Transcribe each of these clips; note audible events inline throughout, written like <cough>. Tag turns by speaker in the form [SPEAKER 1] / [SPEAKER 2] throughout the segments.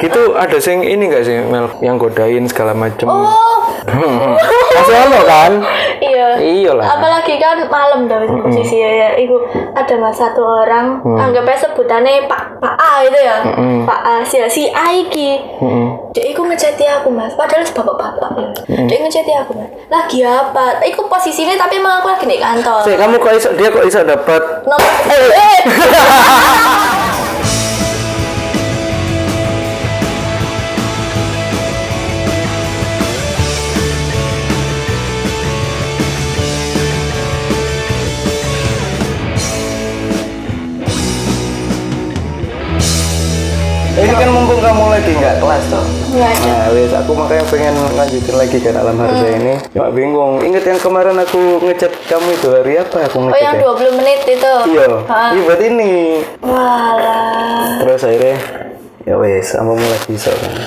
[SPEAKER 1] gitu ada sing ini enggak sih Mel yang godain segala macem
[SPEAKER 2] Oh,
[SPEAKER 1] masih ono kan
[SPEAKER 2] iya.
[SPEAKER 1] Iyalah.
[SPEAKER 2] Apalagi kan malam dari posisi ya, ya. Iku ada mas satu orang, anggapnya sebutannya Pak Pak A itu ya. Pak A si si A iki. Dia iku ngeceti aku mas, padahal bapak-bapak. Dia ngeceti aku mas. Lagi apa? Iku posisinya tapi emang aku lagi di kantor.
[SPEAKER 1] sih kamu kok iso dia kok iso dapat
[SPEAKER 2] Nomor eh,
[SPEAKER 1] ini kan mumpung kamu lagi nggak kelas tuh
[SPEAKER 2] nggak ada.
[SPEAKER 1] Nah, wes aku makanya pengen lanjutin lagi kan alam harga
[SPEAKER 2] Hmm.
[SPEAKER 1] ini. Cuma bingung. Ingat yang kemarin aku ngechat kamu itu hari apa aku
[SPEAKER 2] Oh
[SPEAKER 1] ngechat?
[SPEAKER 2] yang
[SPEAKER 1] ya?
[SPEAKER 2] 20 menit itu.
[SPEAKER 1] Iya.
[SPEAKER 2] Ah.
[SPEAKER 1] Iya buat ini.
[SPEAKER 2] Walah.
[SPEAKER 1] Terus akhirnya ya wes, kamu mulai bisa kan.
[SPEAKER 2] Iya.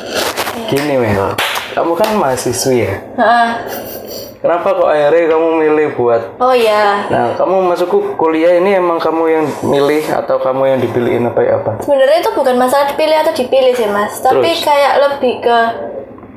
[SPEAKER 1] Gini Mel, kamu kan mahasiswi ya.
[SPEAKER 2] Ah.
[SPEAKER 1] Kenapa kok akhirnya kamu milih buat
[SPEAKER 2] Oh ya.
[SPEAKER 1] Nah, kamu masukku kuliah ini emang kamu yang milih atau kamu yang dipilihin apa ya apa?
[SPEAKER 2] Sebenarnya itu bukan masalah dipilih atau dipilih sih mas, tapi kayak lebih ke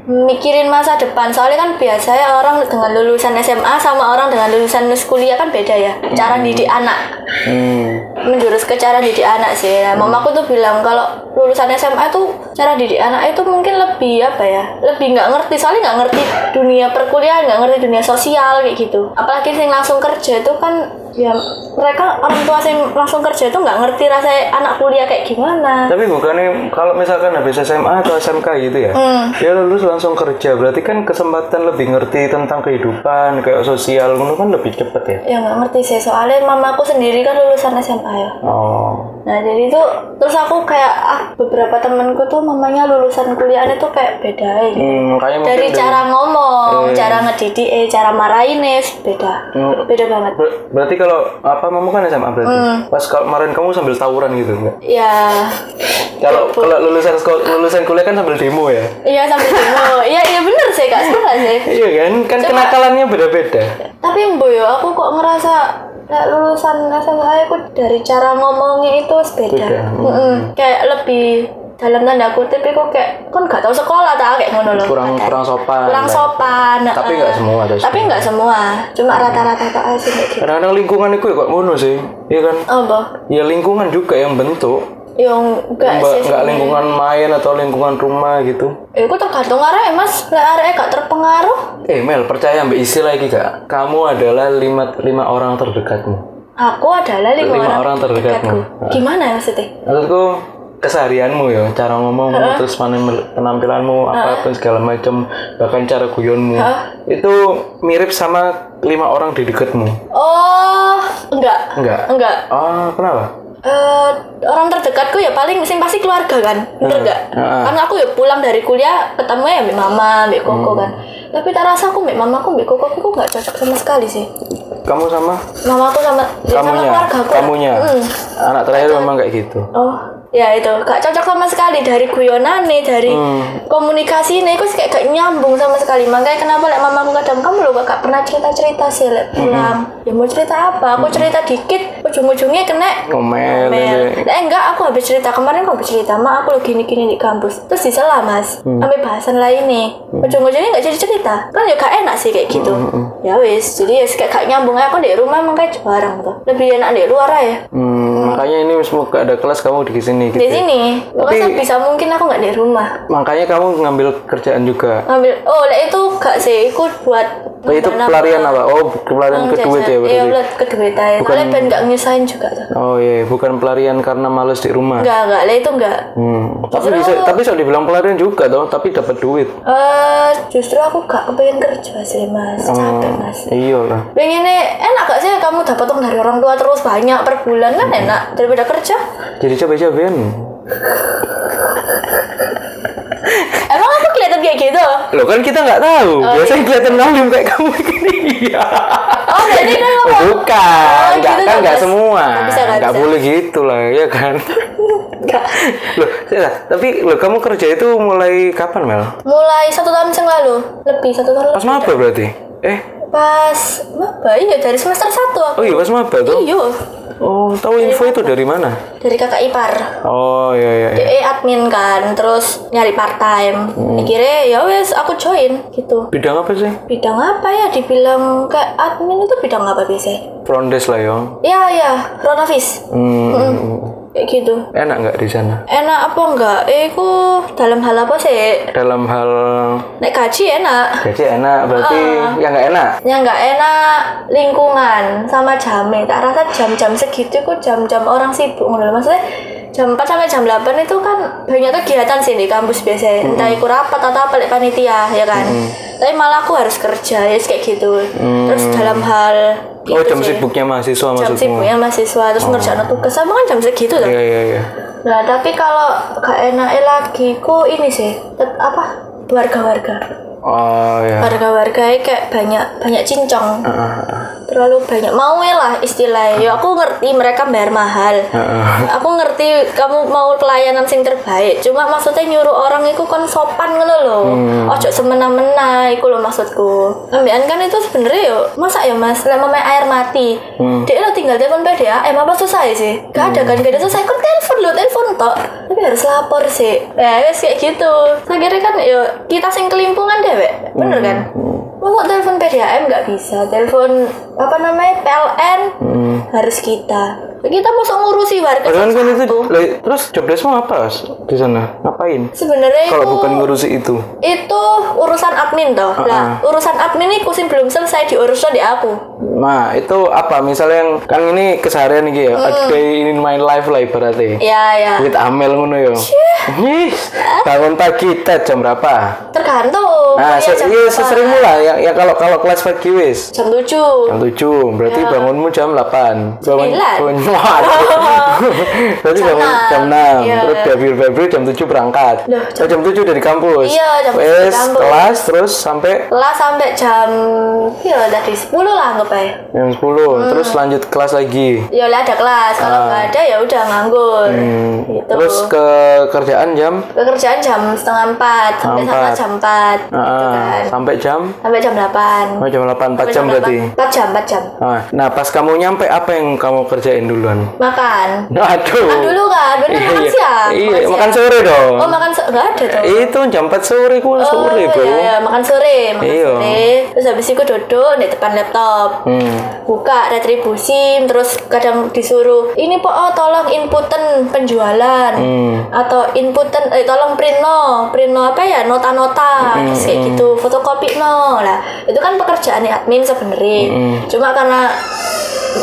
[SPEAKER 2] mikirin masa depan. Soalnya kan biasanya orang dengan lulusan SMA sama orang dengan lulusan kuliah kan beda ya. Cara didik anak
[SPEAKER 1] Hmm.
[SPEAKER 2] menjurus ke cara didik anak sih. Nah, mamaku tuh bilang kalau lulusan SMA tuh cara didik anak itu mungkin lebih apa ya? Lebih nggak ngerti soalnya nggak ngerti dunia perkuliahan, nggak ngerti dunia sosial kayak gitu. Apalagi sing langsung kerja itu kan ya mereka orang tua sing langsung kerja itu nggak ngerti rasanya anak kuliah kayak gimana.
[SPEAKER 1] Tapi bukannya kalau misalkan habis SMA atau SMK gitu ya,
[SPEAKER 2] Hmm.
[SPEAKER 1] dia lulus langsung kerja. Berarti kan kesempatan lebih ngerti tentang kehidupan, kayak sosial, itu kan lebih cepet ya.
[SPEAKER 2] Ya nggak ngerti sih soalnya mamaku sendiri kan lulusan SMA ya.
[SPEAKER 1] Oh,
[SPEAKER 2] Nah jadi itu terus aku kayak ah beberapa temenku tuh mamanya lulusan kuliahnya tuh kayak beda ya gitu.
[SPEAKER 1] hmm, kayak mungkin
[SPEAKER 2] dari cara ngomong, cara ngedidik, eh, cara marahin eh, beda,
[SPEAKER 1] Hmm.
[SPEAKER 2] beda banget.
[SPEAKER 1] Ber- berarti kalau apa kamu kan SMA berarti.
[SPEAKER 2] Hmm.
[SPEAKER 1] Pas kalau kemarin kamu sambil tawuran gitu enggak?
[SPEAKER 2] Ya,
[SPEAKER 1] Kalau kalau lulusan sekol- lulusan kuliah kan sambil demo ya.
[SPEAKER 2] iya sambil demo, iya iya bener sih kak, sebenernya sih.
[SPEAKER 1] Iya kan? Kan kenakalannya beda-beda.
[SPEAKER 2] Tapi boyo, aku kok ngerasa nah, lulusan SMA aku dari cara ngomongnya itu beda.
[SPEAKER 1] Beda, hmm.
[SPEAKER 2] Mm-mm. Kayak lebih dalam tanda kutip, aku kayak kan nggak tahu sekolah tak kayak ngono loh.
[SPEAKER 1] kurang
[SPEAKER 2] Kayak-
[SPEAKER 1] kurang sopan
[SPEAKER 2] kurang
[SPEAKER 1] Mbak.
[SPEAKER 2] sopan.
[SPEAKER 1] Tapi
[SPEAKER 2] eh.
[SPEAKER 1] nggak semua, Hmm. guys.
[SPEAKER 2] Tapi nggak semua, cuma rata-rata tak sih kayak gitu.
[SPEAKER 1] kadang-kadang lingkungan itu ya kok ngono sih iya kan
[SPEAKER 2] Oh, boh.
[SPEAKER 1] ya lingkungan juga yang bentuk
[SPEAKER 2] Yang enggak
[SPEAKER 1] Mbak,
[SPEAKER 2] sih.
[SPEAKER 1] nggak lingkungan main atau lingkungan rumah gitu
[SPEAKER 2] Eh, aku tergantung arek mas, lek arek gak terpengaruh.
[SPEAKER 1] eh Mel percaya mbak isi lagi gak kamu adalah lima lima orang terdekatmu
[SPEAKER 2] Aku adalah lima,
[SPEAKER 1] Lima orang terdekatmu.
[SPEAKER 2] Gimana ya maksudnya?
[SPEAKER 1] maksudku keseharianmu ya cara ngomongmu terus panen- penampilanmu apapun segala macam bahkan cara guyonmu itu mirip sama lima orang di dekatmu
[SPEAKER 2] Oh, enggak,
[SPEAKER 1] enggak
[SPEAKER 2] enggak.
[SPEAKER 1] ah kenapa
[SPEAKER 2] Eh, orang terdekatku ya paling sing pasti keluarga kan,
[SPEAKER 1] Eh,
[SPEAKER 2] bener enggak?
[SPEAKER 1] Heeh.
[SPEAKER 2] Karena aku ya pulang dari kuliah ketemu ya mbak mama, mbak
[SPEAKER 1] Hmm.
[SPEAKER 2] koko kan. Tapi tak rasa aku mbak mama, aku mbak koko, aku nggak cocok sama sekali sih.
[SPEAKER 1] kamu sama
[SPEAKER 2] Mama aku sama ya sama
[SPEAKER 1] kamunya
[SPEAKER 2] keluarga aku. Hmm.
[SPEAKER 1] kamunya anak terakhir memang kayak gitu
[SPEAKER 2] Oh, ya itu gak cocok sama sekali dari guyonane, dari
[SPEAKER 1] Hmm.
[SPEAKER 2] komunikasi ini, aku kayak gak nyambung sama sekali. Makanya kenapa lek mamaku kadang kamu loh gak pernah cerita cerita sih
[SPEAKER 1] Hmm.
[SPEAKER 2] lek pulang. Ya mau cerita apa? Aku cerita dikit, ujung-ujungnya kena
[SPEAKER 1] ngomel
[SPEAKER 2] Mel.
[SPEAKER 1] ini.
[SPEAKER 2] Nah, enggak, aku habis cerita kemarin aku habis cerita, ma aku lagi gini-gini di kampus. Terus disela mas,
[SPEAKER 1] Hmm.
[SPEAKER 2] ambil bahasan lain nih. Ujung-ujungnya nggak jadi cerita, kan ya gak enak sih kayak gitu.
[SPEAKER 1] Hmm,
[SPEAKER 2] Ya wis, jadi ya kayak gak nyambung aja. aku di rumah emang kayak jarang tuh. Lebih enak di luar aja.
[SPEAKER 1] Hmm, makanya ini semoga ada kelas kamu di sini gitu.
[SPEAKER 2] di sini pokoknya bisa mungkin aku nggak di rumah
[SPEAKER 1] Makanya kamu ngambil kerjaan juga.
[SPEAKER 2] ngambil oh lah itu gak sih ikut buat
[SPEAKER 1] Oh, itu
[SPEAKER 2] nambah-nambah
[SPEAKER 1] pelarian apa? Oh, pelarian
[SPEAKER 2] uang
[SPEAKER 1] ke duit ya
[SPEAKER 2] jajan. iya
[SPEAKER 1] berarti.
[SPEAKER 2] buat ke duit aja soalnya ben nggak nyusahin juga tuh
[SPEAKER 1] Oh iya, bukan pelarian karena males di rumah.
[SPEAKER 2] nggak nggak lah itu nggak
[SPEAKER 1] Hmm. Tapi bisa, tapi bisa dibilang pelarian juga dong, tapi dapat duit.
[SPEAKER 2] Eh, justru aku gak kepengen kerja sih mas
[SPEAKER 1] Oh.
[SPEAKER 2] capek mas
[SPEAKER 1] Iya lah.
[SPEAKER 2] pengennya enak gak sih kamu dapat uang dari orang tua terus banyak per bulan kan enak daripada kerja
[SPEAKER 1] Jadi coba-cobain.
[SPEAKER 2] emang aku kelihatan kayak gitu
[SPEAKER 1] Loh kan kita nggak tahu. Biasanya
[SPEAKER 2] iya.
[SPEAKER 1] kelihatan ngalim kayak kamu gini. Iya.
[SPEAKER 2] <laughs> oh
[SPEAKER 1] <laughs>
[SPEAKER 2] berarti kan
[SPEAKER 1] Oh,
[SPEAKER 2] aku
[SPEAKER 1] bukan,
[SPEAKER 2] Oh,
[SPEAKER 1] nggak
[SPEAKER 2] gitu
[SPEAKER 1] kan
[SPEAKER 2] nggak
[SPEAKER 1] nggak
[SPEAKER 2] bisa.
[SPEAKER 1] semua,
[SPEAKER 2] Nggak bisa, nggak
[SPEAKER 1] nggak
[SPEAKER 2] bisa.
[SPEAKER 1] boleh gitu lah, ya kan?
[SPEAKER 2] nggak
[SPEAKER 1] loh, Sela, tapi loh kamu kerja itu mulai kapan Mel?
[SPEAKER 2] mulai satu tahun yang lalu lebih satu tahun
[SPEAKER 1] Pas maba berarti? Eh,
[SPEAKER 2] pas apa iya dari semester satu aku
[SPEAKER 1] oh iya pas maba tuh.
[SPEAKER 2] iya
[SPEAKER 1] Oh, tahu info itu dari mana?
[SPEAKER 2] dari kakak ipar
[SPEAKER 1] Oh, iya iya. iya.
[SPEAKER 2] DE admin kan terus nyari part time akhirnya ya wes aku join gitu
[SPEAKER 1] Bidang apa sih?
[SPEAKER 2] bidang apa ya dibilang kayak admin itu bidang apa biasanya
[SPEAKER 1] Front desk lah ya.
[SPEAKER 2] ya ya front office
[SPEAKER 1] Hmm,
[SPEAKER 2] kayak gitu
[SPEAKER 1] Enak nggak di sana?
[SPEAKER 2] enak apa enggak eh ku dalam hal apa sih
[SPEAKER 1] Dalam hal
[SPEAKER 2] naik gaji enak
[SPEAKER 1] gaji enak berarti
[SPEAKER 2] Ah.
[SPEAKER 1] yang nggak enak.
[SPEAKER 2] yang enggak Ya, enak lingkungan sama jamnya tak rasa jam-jam segitu ku jam-jam orang sibuk ngono lho. maksudnya jam 4 sampai jam 8 itu kan banyak kegiatan sih di kampus biasanya entah ikut rapat atau apa like panitia ya kan tapi malah aku harus kerja ya kayak gitu terus dalam hal
[SPEAKER 1] Mm. Oh,
[SPEAKER 2] itu
[SPEAKER 1] jam
[SPEAKER 2] Gitu sih.
[SPEAKER 1] sibuknya mahasiswa
[SPEAKER 2] jam ya.
[SPEAKER 1] maksudmu? Oh.
[SPEAKER 2] sibuknya mahasiswa terus ngerjain tugas sama kan jam segitu loh
[SPEAKER 1] Iya iya iya.
[SPEAKER 2] Nah, tapi kalau gak enaknya lagi ku ini sih, tet- apa? warga-warga.
[SPEAKER 1] Oh iya.
[SPEAKER 2] Warga-warga kayak banyak banyak cincong.
[SPEAKER 1] Ah, ah, ah.
[SPEAKER 2] Terlalu banyak mau lah istilahnya. Ya aku ngerti mereka bayar mahal.
[SPEAKER 1] Heeh.
[SPEAKER 2] Aku ngerti kamu mau pelayanan sing terbaik. Cuma maksudnya nyuruh orang iku kon sopan ngono lho. Ojo semena-mena iku lho maksudku. Ambekan kan itu sebenarnya yo masa ya Mas, lek mamae air mati. Dia lo tinggal telepon PDA, eh apa susah sih? Gak ada kan, gak ada susah. Kon telepon lo, telepon tok. Tapi harus lapor sih. Ya wes kayak gitu. Saya kira kan yo kita sing kelimpungan dewek. Bener kan? Mau telepon PDAM nggak bisa, telepon apa namanya PLN harus kita. Kita mau ngurusi warga
[SPEAKER 1] Padahal kan itu lah, terus jobdeskmu apa Mas? di sana? Ngapain?
[SPEAKER 2] sebenarnya
[SPEAKER 1] Kalau
[SPEAKER 2] itu
[SPEAKER 1] bukan Ah, ngurusi itu.
[SPEAKER 2] itu urusan admin toh lah urusan admin ini kusin belum selesai diurus di aku
[SPEAKER 1] Nah, itu apa? Misalnya yang kan ini keseharian iki ya, a day in my life lah ibaratnya.
[SPEAKER 2] ya ya
[SPEAKER 1] With Amel ngono ya. Ih, bangun pagi tet jam berapa?
[SPEAKER 2] tergantung
[SPEAKER 1] Nah,
[SPEAKER 2] Kuliah
[SPEAKER 1] se-
[SPEAKER 2] jam
[SPEAKER 1] iya
[SPEAKER 2] berapa.
[SPEAKER 1] sesering lah ya, ya kalau kalau kelas pagi wis
[SPEAKER 2] jam tujuh
[SPEAKER 1] jam 7, berarti
[SPEAKER 2] Iya.
[SPEAKER 1] bangunmu jam 8. Bangun
[SPEAKER 2] Sembilan.
[SPEAKER 1] bangun-
[SPEAKER 2] <laughs>
[SPEAKER 1] waduh. berarti
[SPEAKER 2] Jam
[SPEAKER 1] bangun jam
[SPEAKER 2] enam.
[SPEAKER 1] 6.
[SPEAKER 2] Iya.
[SPEAKER 1] Terus babir-babir jam 7 berangkat.
[SPEAKER 2] Loh,
[SPEAKER 1] jam, jam 7 dari kampus.
[SPEAKER 2] Iya, jam 7 dari
[SPEAKER 1] Wis,
[SPEAKER 2] kampus.
[SPEAKER 1] kelas terus sampai
[SPEAKER 2] lah sampai jam ya tadi sepuluh lah anggap aja
[SPEAKER 1] jam 10,
[SPEAKER 2] Hmm.
[SPEAKER 1] terus lanjut kelas lagi.
[SPEAKER 2] ya lah ada kelas kalau nggak ada ya udah nganggur
[SPEAKER 1] Ah. Hmm,
[SPEAKER 2] gitu
[SPEAKER 1] Terus ke kerjaan jam
[SPEAKER 2] pekerjaan jam setengah empat sampai
[SPEAKER 1] Empat.
[SPEAKER 2] sama jam empat
[SPEAKER 1] ah,
[SPEAKER 2] gitu kan
[SPEAKER 1] sampai jam
[SPEAKER 2] sampai jam delapan
[SPEAKER 1] sampai jam 8 4
[SPEAKER 2] Sampai
[SPEAKER 1] jam berarti.
[SPEAKER 2] delapan. empat jam empat jam
[SPEAKER 1] Ah, Nah, pas kamu nyampe apa yang kamu kerjain duluan? <laughs>
[SPEAKER 2] makan
[SPEAKER 1] Aduh.
[SPEAKER 2] makan dulu kan bener makan
[SPEAKER 1] Iya,
[SPEAKER 2] siang
[SPEAKER 1] Iya,
[SPEAKER 2] siang.
[SPEAKER 1] makan sore dong.
[SPEAKER 2] Oh makan sore nggak ada tuh.
[SPEAKER 1] Itu jam 4 sore ku sore,
[SPEAKER 2] Oh,
[SPEAKER 1] Bro.
[SPEAKER 2] iya, iya, makan sore, makan
[SPEAKER 1] Iya.
[SPEAKER 2] sore. Terus habis itu duduk di depan laptop.
[SPEAKER 1] Hmm.
[SPEAKER 2] Buka retribusi, terus kadang disuruh, ini po oh, tolong inputen penjualan
[SPEAKER 1] Hmm.
[SPEAKER 2] atau inputen eh tolong print no, print no apa ya nota-nota
[SPEAKER 1] Hmm,
[SPEAKER 2] terus kayak gitu, fotokopi no lah. Itu kan pekerjaan admin sebenarnya.
[SPEAKER 1] Hmm.
[SPEAKER 2] Cuma karena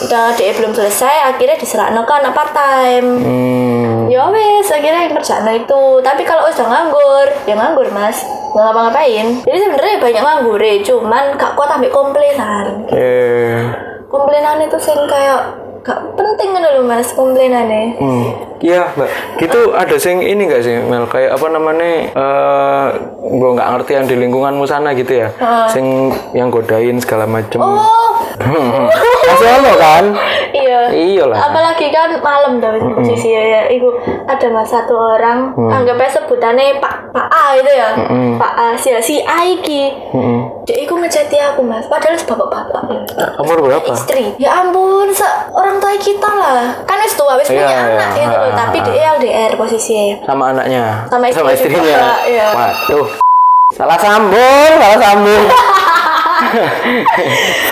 [SPEAKER 2] udah DE belum selesai, akhirnya diserahkan ke anak part time.
[SPEAKER 1] Hmm.
[SPEAKER 2] Ya wes, akhirnya yang kerjaan itu. Tapi kalau udah nganggur, ya nganggur mas. Nggak ngapa-ngapain. Jadi sebenarnya banyak nganggur ya, cuman gak kuat ambil komplainan.
[SPEAKER 1] Eh.
[SPEAKER 2] Komplainan itu sing kayak gak penting kan loh mas komplainannya.
[SPEAKER 1] Hmm. Iya, Mbak. Gitu ada sing ini enggak sih, Mel? Kayak apa namanya? Eh, gua nggak ngerti yang di lingkunganmu sana gitu ya. Sing yang godain segala macem.
[SPEAKER 2] Ah.
[SPEAKER 1] Hmm,
[SPEAKER 2] Oh,
[SPEAKER 1] Masih ono kan?
[SPEAKER 2] <laughs> iya.
[SPEAKER 1] Iya lah.
[SPEAKER 2] Apalagi kan malam dari posisi ya, ya. Ibu ada mas satu orang, anggapnya sebutannya Pak Pak A itu ya, Pak A si, si A iki. Dia iku ngecati aku mas, padahal bapak-bapak.
[SPEAKER 1] Umur berapa?
[SPEAKER 2] istri ya ampun se orang tua kita lah kan wis tua wis punya
[SPEAKER 1] Iya, iya.
[SPEAKER 2] anak gitu loh
[SPEAKER 1] Ah,
[SPEAKER 2] tapi dia LDR posisinya ya.
[SPEAKER 1] Sama anaknya.
[SPEAKER 2] Sama istri
[SPEAKER 1] istrinya.
[SPEAKER 2] juga, iya.
[SPEAKER 1] Waduh. Salah sambung, salah
[SPEAKER 2] <laughs>
[SPEAKER 1] sambung.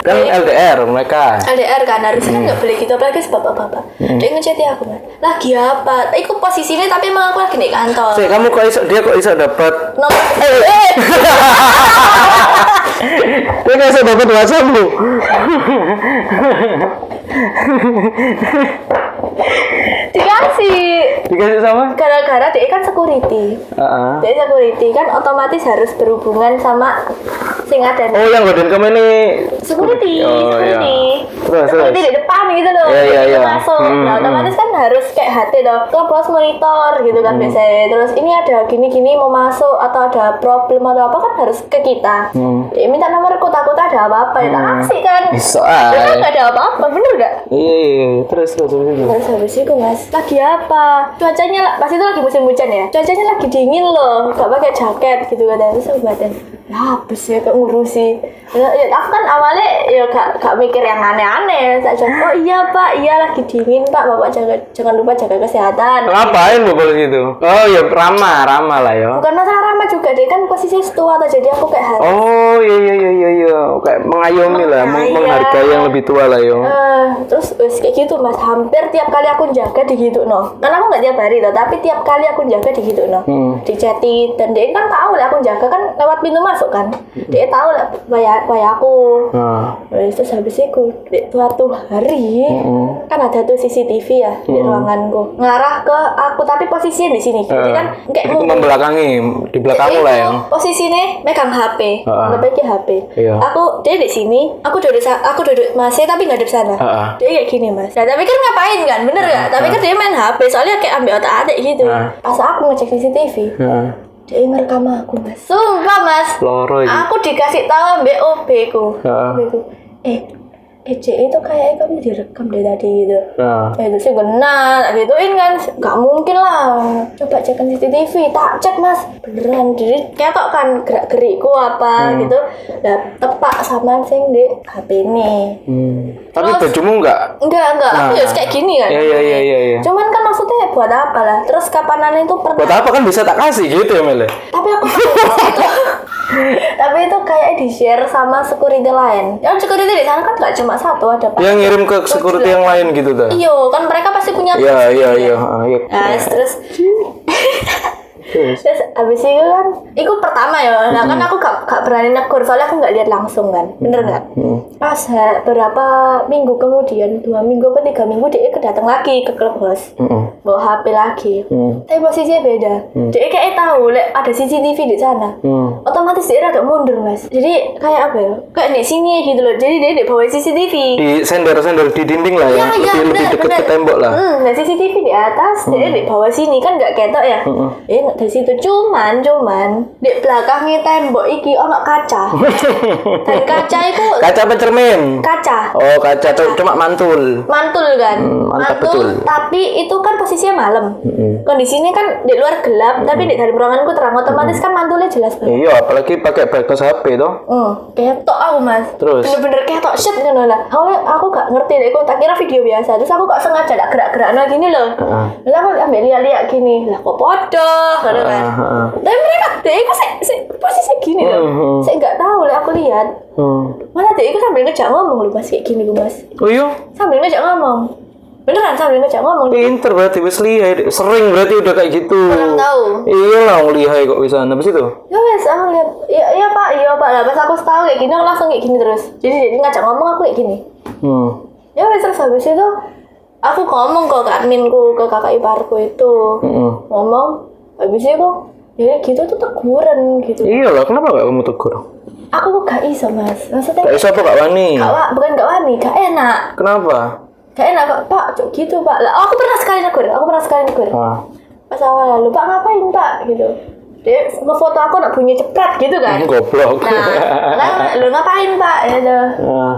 [SPEAKER 1] kan
[SPEAKER 2] Iya.
[SPEAKER 1] LDR mereka.
[SPEAKER 2] LDR kan harusnya
[SPEAKER 1] Hmm.
[SPEAKER 2] nggak boleh gitu apalagi sebab bapak-bapak dia ngechat ya aku mas lagi apa aku posisinya tapi emang aku lagi di kantor
[SPEAKER 1] Sih, kamu kok iso dia kok iso dapat
[SPEAKER 2] nomor eh
[SPEAKER 1] dia kok iso dapat WhatsApp lu.
[SPEAKER 2] Eh, dikasih
[SPEAKER 1] Dikasih sama?
[SPEAKER 2] gara-gara dia kan security
[SPEAKER 1] Heeh.
[SPEAKER 2] dia security kan otomatis harus berhubungan sama sing ada
[SPEAKER 1] Oh, yang godain kamu ini
[SPEAKER 2] security,
[SPEAKER 1] Oh, iya.
[SPEAKER 2] security.
[SPEAKER 1] Terus,
[SPEAKER 2] security
[SPEAKER 1] terus.
[SPEAKER 2] di depan gitu loh.
[SPEAKER 1] Iya, iya,
[SPEAKER 2] Itu
[SPEAKER 1] iya.
[SPEAKER 2] Masuk.
[SPEAKER 1] Hmm,
[SPEAKER 2] nah,
[SPEAKER 1] hmm.
[SPEAKER 2] otomatis kan harus kayak hati dong. Ke bos monitor gitu kan
[SPEAKER 1] Hmm.
[SPEAKER 2] biasanya. Terus ini ada gini-gini mau masuk atau ada problem atau apa kan harus ke kita.
[SPEAKER 1] Hmm.
[SPEAKER 2] Dia minta nomorku takut ada apa-apa ya. Tak aksi kan.
[SPEAKER 1] Iso
[SPEAKER 2] Ya kan
[SPEAKER 1] ae.
[SPEAKER 2] nggak ada apa-apa, bener gak?
[SPEAKER 1] Iya, iya, iya. terus terus terus. terus.
[SPEAKER 2] Terus habis itu mas, lagi lagi apa cuacanya la- pas itu lagi musim hujan ya cuacanya lagi dingin loh gak pakai jaket gitu kan terus aku batin ya habis ya kok ngurusi ya, ya, aku kan awalnya ya gak, gak mikir yang aneh-aneh tak jawab oh iya pak iya lagi dingin pak bapak jaga, jangan lupa jaga kesehatan
[SPEAKER 1] Ngapain lu kalau gitu? Oh ya ramah, ramah lah ya.
[SPEAKER 2] bukan masalah ramah juga deh kan posisinya setua atau jadi aku kayak harus
[SPEAKER 1] Oh iya iya iya iya iya. Kayak mengayomi lah, meng-
[SPEAKER 2] Mengayomi.
[SPEAKER 1] menghargai yang lebih tua lah ya. yo.
[SPEAKER 2] Eh, terus wes kayak gitu mas hampir tiap kali aku jaga di gitu no karena aku nggak tiap hari loh tapi tiap kali aku jaga di gitu no
[SPEAKER 1] Hmm.
[SPEAKER 2] di chatty dan dia kan tahu lah aku jaga kan lewat pintu masuk kan
[SPEAKER 1] Hmm.
[SPEAKER 2] dia tahu lah bayar bayar aku
[SPEAKER 1] Nah.
[SPEAKER 2] Wes, terus habis itu di suatu hari
[SPEAKER 1] Mm-mm.
[SPEAKER 2] kan ada tuh CCTV ya di
[SPEAKER 1] Hmm.
[SPEAKER 2] ruanganku ngarah ke aku tapi posisinya di sini jadi
[SPEAKER 1] Eh,
[SPEAKER 2] kan kayak
[SPEAKER 1] itu
[SPEAKER 2] ngubung-
[SPEAKER 1] membelakangi di belakang
[SPEAKER 2] Itu
[SPEAKER 1] lah ya? yang
[SPEAKER 2] posisinya megang HP,
[SPEAKER 1] Heeh.
[SPEAKER 2] lebih ke HP.
[SPEAKER 1] Iya.
[SPEAKER 2] Aku dia di sini, aku duduk sa- aku duduk masih tapi nggak ada di sana.
[SPEAKER 1] Heeh.
[SPEAKER 2] Dia kayak gini mas. Nah, tapi kan ngapain kan, bener nggak? Tapi kan dia main HP, soalnya kayak ambil otak atik gitu.
[SPEAKER 1] Heeh.
[SPEAKER 2] Pas aku ngecek CCTV,
[SPEAKER 1] Heeh.
[SPEAKER 2] dia ngerekam aku mas. Sumpah mas,
[SPEAKER 1] Loro iki.
[SPEAKER 2] aku dikasih tahu BOB ku.
[SPEAKER 1] Heeh.
[SPEAKER 2] Gitu. Eh, eh Cik, itu kayaknya kamu direkam deh tadi gitu.
[SPEAKER 1] Nah.
[SPEAKER 2] Ya itu sih benar, tak gituin kan Gak mungkin lah Coba cek CCTV, tak cek mas Beneran, jadi ketok kan gerak-gerikku apa gitu Nah, tepak sama sing di HP ini
[SPEAKER 1] Hmm. Tapi
[SPEAKER 2] Terus-
[SPEAKER 1] bajumu enggak?
[SPEAKER 2] Enggak, enggak, aku
[SPEAKER 1] Nah.
[SPEAKER 2] ya kayak gini kan
[SPEAKER 1] Iya iya iya iya. iya.
[SPEAKER 2] Cuman kan maksudnya buat apa lah Terus kapanan itu pernah
[SPEAKER 1] Buat apa kan bisa tak kasih gitu ya Mele?
[SPEAKER 2] Tapi aku pakai itu
[SPEAKER 1] <laughs>
[SPEAKER 2] Tapi itu kayaknya di-share sama security lain Ya security di sana kan gak cuma satu, ada
[SPEAKER 1] Dia
[SPEAKER 2] pak
[SPEAKER 1] ngirim ke security yang lain gitu dah.
[SPEAKER 2] Iya, kan mereka pasti punya
[SPEAKER 1] Iya iya iya. Ah, iya.
[SPEAKER 2] Nah, terus
[SPEAKER 1] Terus.
[SPEAKER 2] Terus abis itu kan, itu pertama ya, nah kan aku gak, gak berani negur, soalnya aku gak lihat langsung kan, bener nggak? Pas ha- berapa minggu kemudian, dua minggu apa tiga minggu, dia kedatang lagi ke clubhouse,
[SPEAKER 1] Heeh.
[SPEAKER 2] bawa HP lagi.
[SPEAKER 1] Hmm.
[SPEAKER 2] Tapi posisinya beda, dia kayak tahu lek ada CCTV di sana.
[SPEAKER 1] Hmm.
[SPEAKER 2] Otomatis dia agak mundur mas, jadi kayak apa ya, kayak di sini gitu loh, jadi dia di bawah CCTV.
[SPEAKER 1] Di sender-sender di dinding lah ya.
[SPEAKER 2] Ya,
[SPEAKER 1] Lebih
[SPEAKER 2] ya,
[SPEAKER 1] lebih
[SPEAKER 2] benar,
[SPEAKER 1] dekat ke
[SPEAKER 2] benar.
[SPEAKER 1] tembok lah. Hmm.
[SPEAKER 2] Hmm, nah CCTV di atas, dia di bawah sini kan nggak ketok ya. Eh, dari situ cuman, cuman di belakangnya tembok iki ono
[SPEAKER 1] <laughs>
[SPEAKER 2] kaca. Dan kaca itu
[SPEAKER 1] Kaca apa cermin?
[SPEAKER 2] kaca
[SPEAKER 1] Oh kaca tuh cuma mantul.
[SPEAKER 2] mantul kan,
[SPEAKER 1] Hmm, mantap,
[SPEAKER 2] mantul.
[SPEAKER 1] betul. Hmm,
[SPEAKER 2] Tapi itu kan posisinya malam. Kondisinya kan di luar gelap, tapi di dalam ruanganku terang. Otomatis
[SPEAKER 1] Hmm,
[SPEAKER 2] kan mantulnya jelas banget.
[SPEAKER 1] Iya, apalagi pakai bagus HP toh.
[SPEAKER 2] Hmm, ketok aku mas
[SPEAKER 1] Terus?
[SPEAKER 2] Bener-bener ketok, shit kan lah Awalnya aku gak ngerti deh, aku tak kira video biasa Terus aku gak sengaja tak gerak-gerak nah gini loh
[SPEAKER 1] Heeh.
[SPEAKER 2] Terus aku ambil lihat-lihat gini Lah kok podoh, gitu kan
[SPEAKER 1] Ah, ah.
[SPEAKER 2] Tapi mereka, deh aku se, se, posisi gini
[SPEAKER 1] Heeh.
[SPEAKER 2] loh Saya gak tahu lah aku lihat
[SPEAKER 1] Hmm.
[SPEAKER 2] Malah deh aku sambil ngejak ngomong loh mas, kayak gini gue mas
[SPEAKER 1] Oh iya,
[SPEAKER 2] Sambil ngejak ngomong Beneran sambil ngejak ngomong
[SPEAKER 1] pinter berarti wis lihai. Sering berarti udah kayak gitu.
[SPEAKER 2] Kurang tahu
[SPEAKER 1] Iya lah, wong lihai kok bisa. Habis itu?
[SPEAKER 2] Ya wes, aku lihat. Iya, iya pak, iya pak. Lah pas aku tahu kayak gini, aku langsung kayak gini terus. Jadi dia ngajak ngomong aku kayak gini.
[SPEAKER 1] Hmm.
[SPEAKER 2] ya wes terus habis itu aku ngomong ke kak adminku ke kakak iparku itu
[SPEAKER 1] Mm-mm.
[SPEAKER 2] ngomong habis itu jadi gitu tuh teguran gitu
[SPEAKER 1] Iya lah, kenapa gak kamu tegur?
[SPEAKER 2] aku kok gak iso mas maksudnya
[SPEAKER 1] Gak bisa apa gak wani?
[SPEAKER 2] gak wa, bukan gak wani gak enak
[SPEAKER 1] Kenapa?
[SPEAKER 2] gak enak kok pak cok gitu pak lah oh, aku pernah sekali negur aku pernah sekali negur
[SPEAKER 1] Ah.
[SPEAKER 2] pas awal lalu pak ngapain pak gitu dia ngefoto aku nak bunyi cepret gitu kan
[SPEAKER 1] Ini goblok. <laughs>
[SPEAKER 2] nah lah, lu ngapain pak gitu
[SPEAKER 1] Ah.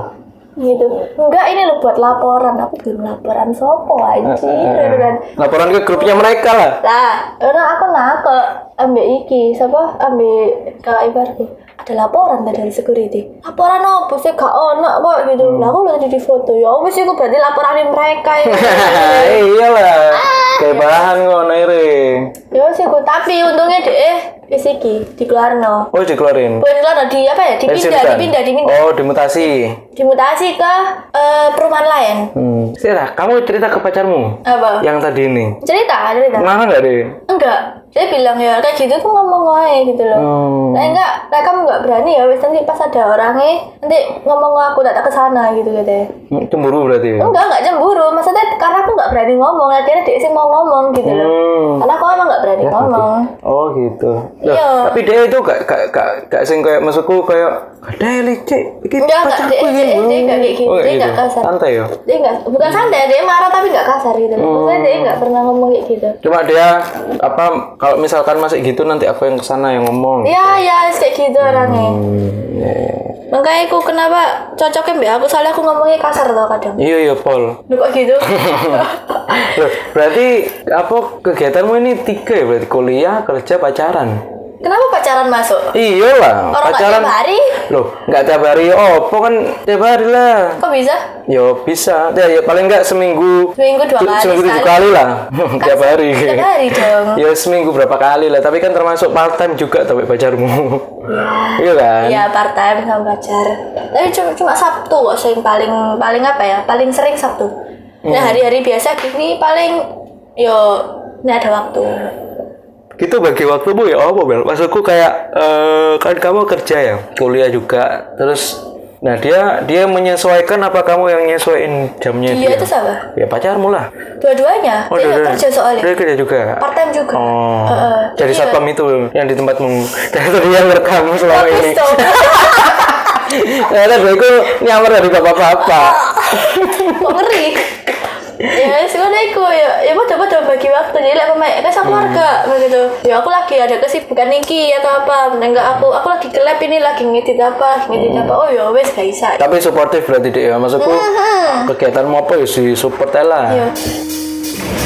[SPEAKER 2] gitu enggak ini lu buat laporan aku belum laporan sopo anjir
[SPEAKER 1] Ah,
[SPEAKER 2] gitu kan
[SPEAKER 1] Laporan ke grupnya mereka lah. <laughs>
[SPEAKER 2] Lah, karena aku nakal ambek iki, siapa ambek kakak iparku. Ada laporan tadi dari security. Laporan apa sih gak ono kok gitu. Lah aku lihat di foto. Ya wis iku berarti laporan mereka ya.
[SPEAKER 1] Eh, iyalah.
[SPEAKER 2] Ah.
[SPEAKER 1] Kayak bahan kok naire.
[SPEAKER 2] ya wis iku tapi untungnya deh wis iki dikeluarno.
[SPEAKER 1] Oh dikeluarin.
[SPEAKER 2] Bukan dikeluarno di apa ya? Dipindah,
[SPEAKER 1] Pensiunkan.
[SPEAKER 2] dipindah, dipindah.
[SPEAKER 1] Oh dimutasi.
[SPEAKER 2] Dimutasi ke eh, perumahan lain.
[SPEAKER 1] Hmm. Sira, kamu cerita ke pacarmu
[SPEAKER 2] Apa?
[SPEAKER 1] yang tadi ini.
[SPEAKER 2] Cerita, cerita.
[SPEAKER 1] Marah nggak deh?
[SPEAKER 2] Enggak, dia bilang ya kayak gitu tuh ngomong aja gitu loh.
[SPEAKER 1] Oh.
[SPEAKER 2] Nah, enggak, nah, kamu enggak berani ya, wes nanti pas ada orangnya, nanti ngomong aku tak tak kesana gitu
[SPEAKER 1] Ya.
[SPEAKER 2] katanya.
[SPEAKER 1] Cemburu berarti. ya?
[SPEAKER 2] Enggak, enggak cemburu, maksudnya karena aku enggak berani ngomong, akhirnya dia sih mau ngomong gitu loh.
[SPEAKER 1] Hmm.
[SPEAKER 2] Karena aku emang enggak berani ngomong.
[SPEAKER 1] Oh gitu. Loh,
[SPEAKER 2] Iya.
[SPEAKER 1] Tapi dia itu gak gak gak gak sing kayak maksudku kayak ada licik. Iki
[SPEAKER 2] Enggak, enggak, dia,
[SPEAKER 1] pacarku
[SPEAKER 2] dia,
[SPEAKER 1] ini.
[SPEAKER 2] dia, dia enggak kayak gitu,
[SPEAKER 1] Oh,
[SPEAKER 2] dia
[SPEAKER 1] kayak
[SPEAKER 2] enggak
[SPEAKER 1] gitu.
[SPEAKER 2] kasar.
[SPEAKER 1] Santai ya.
[SPEAKER 2] Dia enggak, bukan
[SPEAKER 1] Hmm.
[SPEAKER 2] santai, dia marah tapi enggak kasar gitu loh. Maksudnya dia enggak pernah ngomong kayak gitu.
[SPEAKER 1] Cuma dia apa kalau misalkan masih gitu nanti aku yang kesana yang ngomong
[SPEAKER 2] ya ya kayak gitu orangnya
[SPEAKER 1] Hmm, ya, ya.
[SPEAKER 2] makanya aku kenapa cocoknya mbak aku soalnya aku ngomongnya kasar tau kadang
[SPEAKER 1] iya iya Paul
[SPEAKER 2] Duh
[SPEAKER 1] <laughs>
[SPEAKER 2] kok gitu
[SPEAKER 1] Loh, berarti apa kegiatanmu ini tiga ya berarti kuliah kerja pacaran
[SPEAKER 2] kenapa pacaran masuk
[SPEAKER 1] iya lah
[SPEAKER 2] orang nggak
[SPEAKER 1] pacaran
[SPEAKER 2] tiap hari
[SPEAKER 1] loh nggak tiap hari oh apa kan tiap hari lah
[SPEAKER 2] kok bisa
[SPEAKER 1] yo bisa ya, ya, paling nggak seminggu
[SPEAKER 2] seminggu dua
[SPEAKER 1] tu-
[SPEAKER 2] kali
[SPEAKER 1] seminggu tujuh
[SPEAKER 2] sekali.
[SPEAKER 1] kali
[SPEAKER 2] Kan
[SPEAKER 1] lah <laughs> tiap hari
[SPEAKER 2] tiap hari dong
[SPEAKER 1] ya seminggu berapa kali lah tapi kan termasuk part time juga tapi
[SPEAKER 2] <laughs>
[SPEAKER 1] pacarmu iya kan
[SPEAKER 2] Iya part time sama pacar. Tapi cuma cuma Sabtu kok sering paling paling apa ya? Paling sering Sabtu. Nah
[SPEAKER 1] Hmm.
[SPEAKER 2] hari-hari biasa gini paling yo nggak ada waktu.
[SPEAKER 1] itu bagi waktumu ya apa bel maksudku kayak eh, kan kamu kerja ya kuliah juga terus nah dia dia menyesuaikan apa kamu yang nyesuaiin jamnya
[SPEAKER 2] Dia itu siapa?
[SPEAKER 1] ya pacarmu lah
[SPEAKER 2] Dua-duanya. dia nggak
[SPEAKER 1] Oh, dua-duanya.
[SPEAKER 2] kerja soalnya.
[SPEAKER 1] dia kerja juga
[SPEAKER 2] Part time juga.
[SPEAKER 1] oh
[SPEAKER 2] Heeh.
[SPEAKER 1] jadi
[SPEAKER 2] Iya.
[SPEAKER 1] satpam itu yang di tempatmu <laughs> dari tadi yang ngerekam selama
[SPEAKER 2] Bagus
[SPEAKER 1] ini
[SPEAKER 2] dong.
[SPEAKER 1] <laughs> ternyata gue itu nyamar dari bapak-bapak
[SPEAKER 2] Kok ngeri. ya wes ngono iku ya ya padha-padha bagi waktu jadi lek pemain kan sama keluarga gitu ya aku lagi ada kesibukan iki atau apa enggak aku aku lagi ke lab ini lagi ngedit apa lagi ngedit apa oh ya wes gak bisa
[SPEAKER 1] tapi suportif berarti dia maksudku kegiatanmu apa ya si support aja lah
[SPEAKER 2] Iya.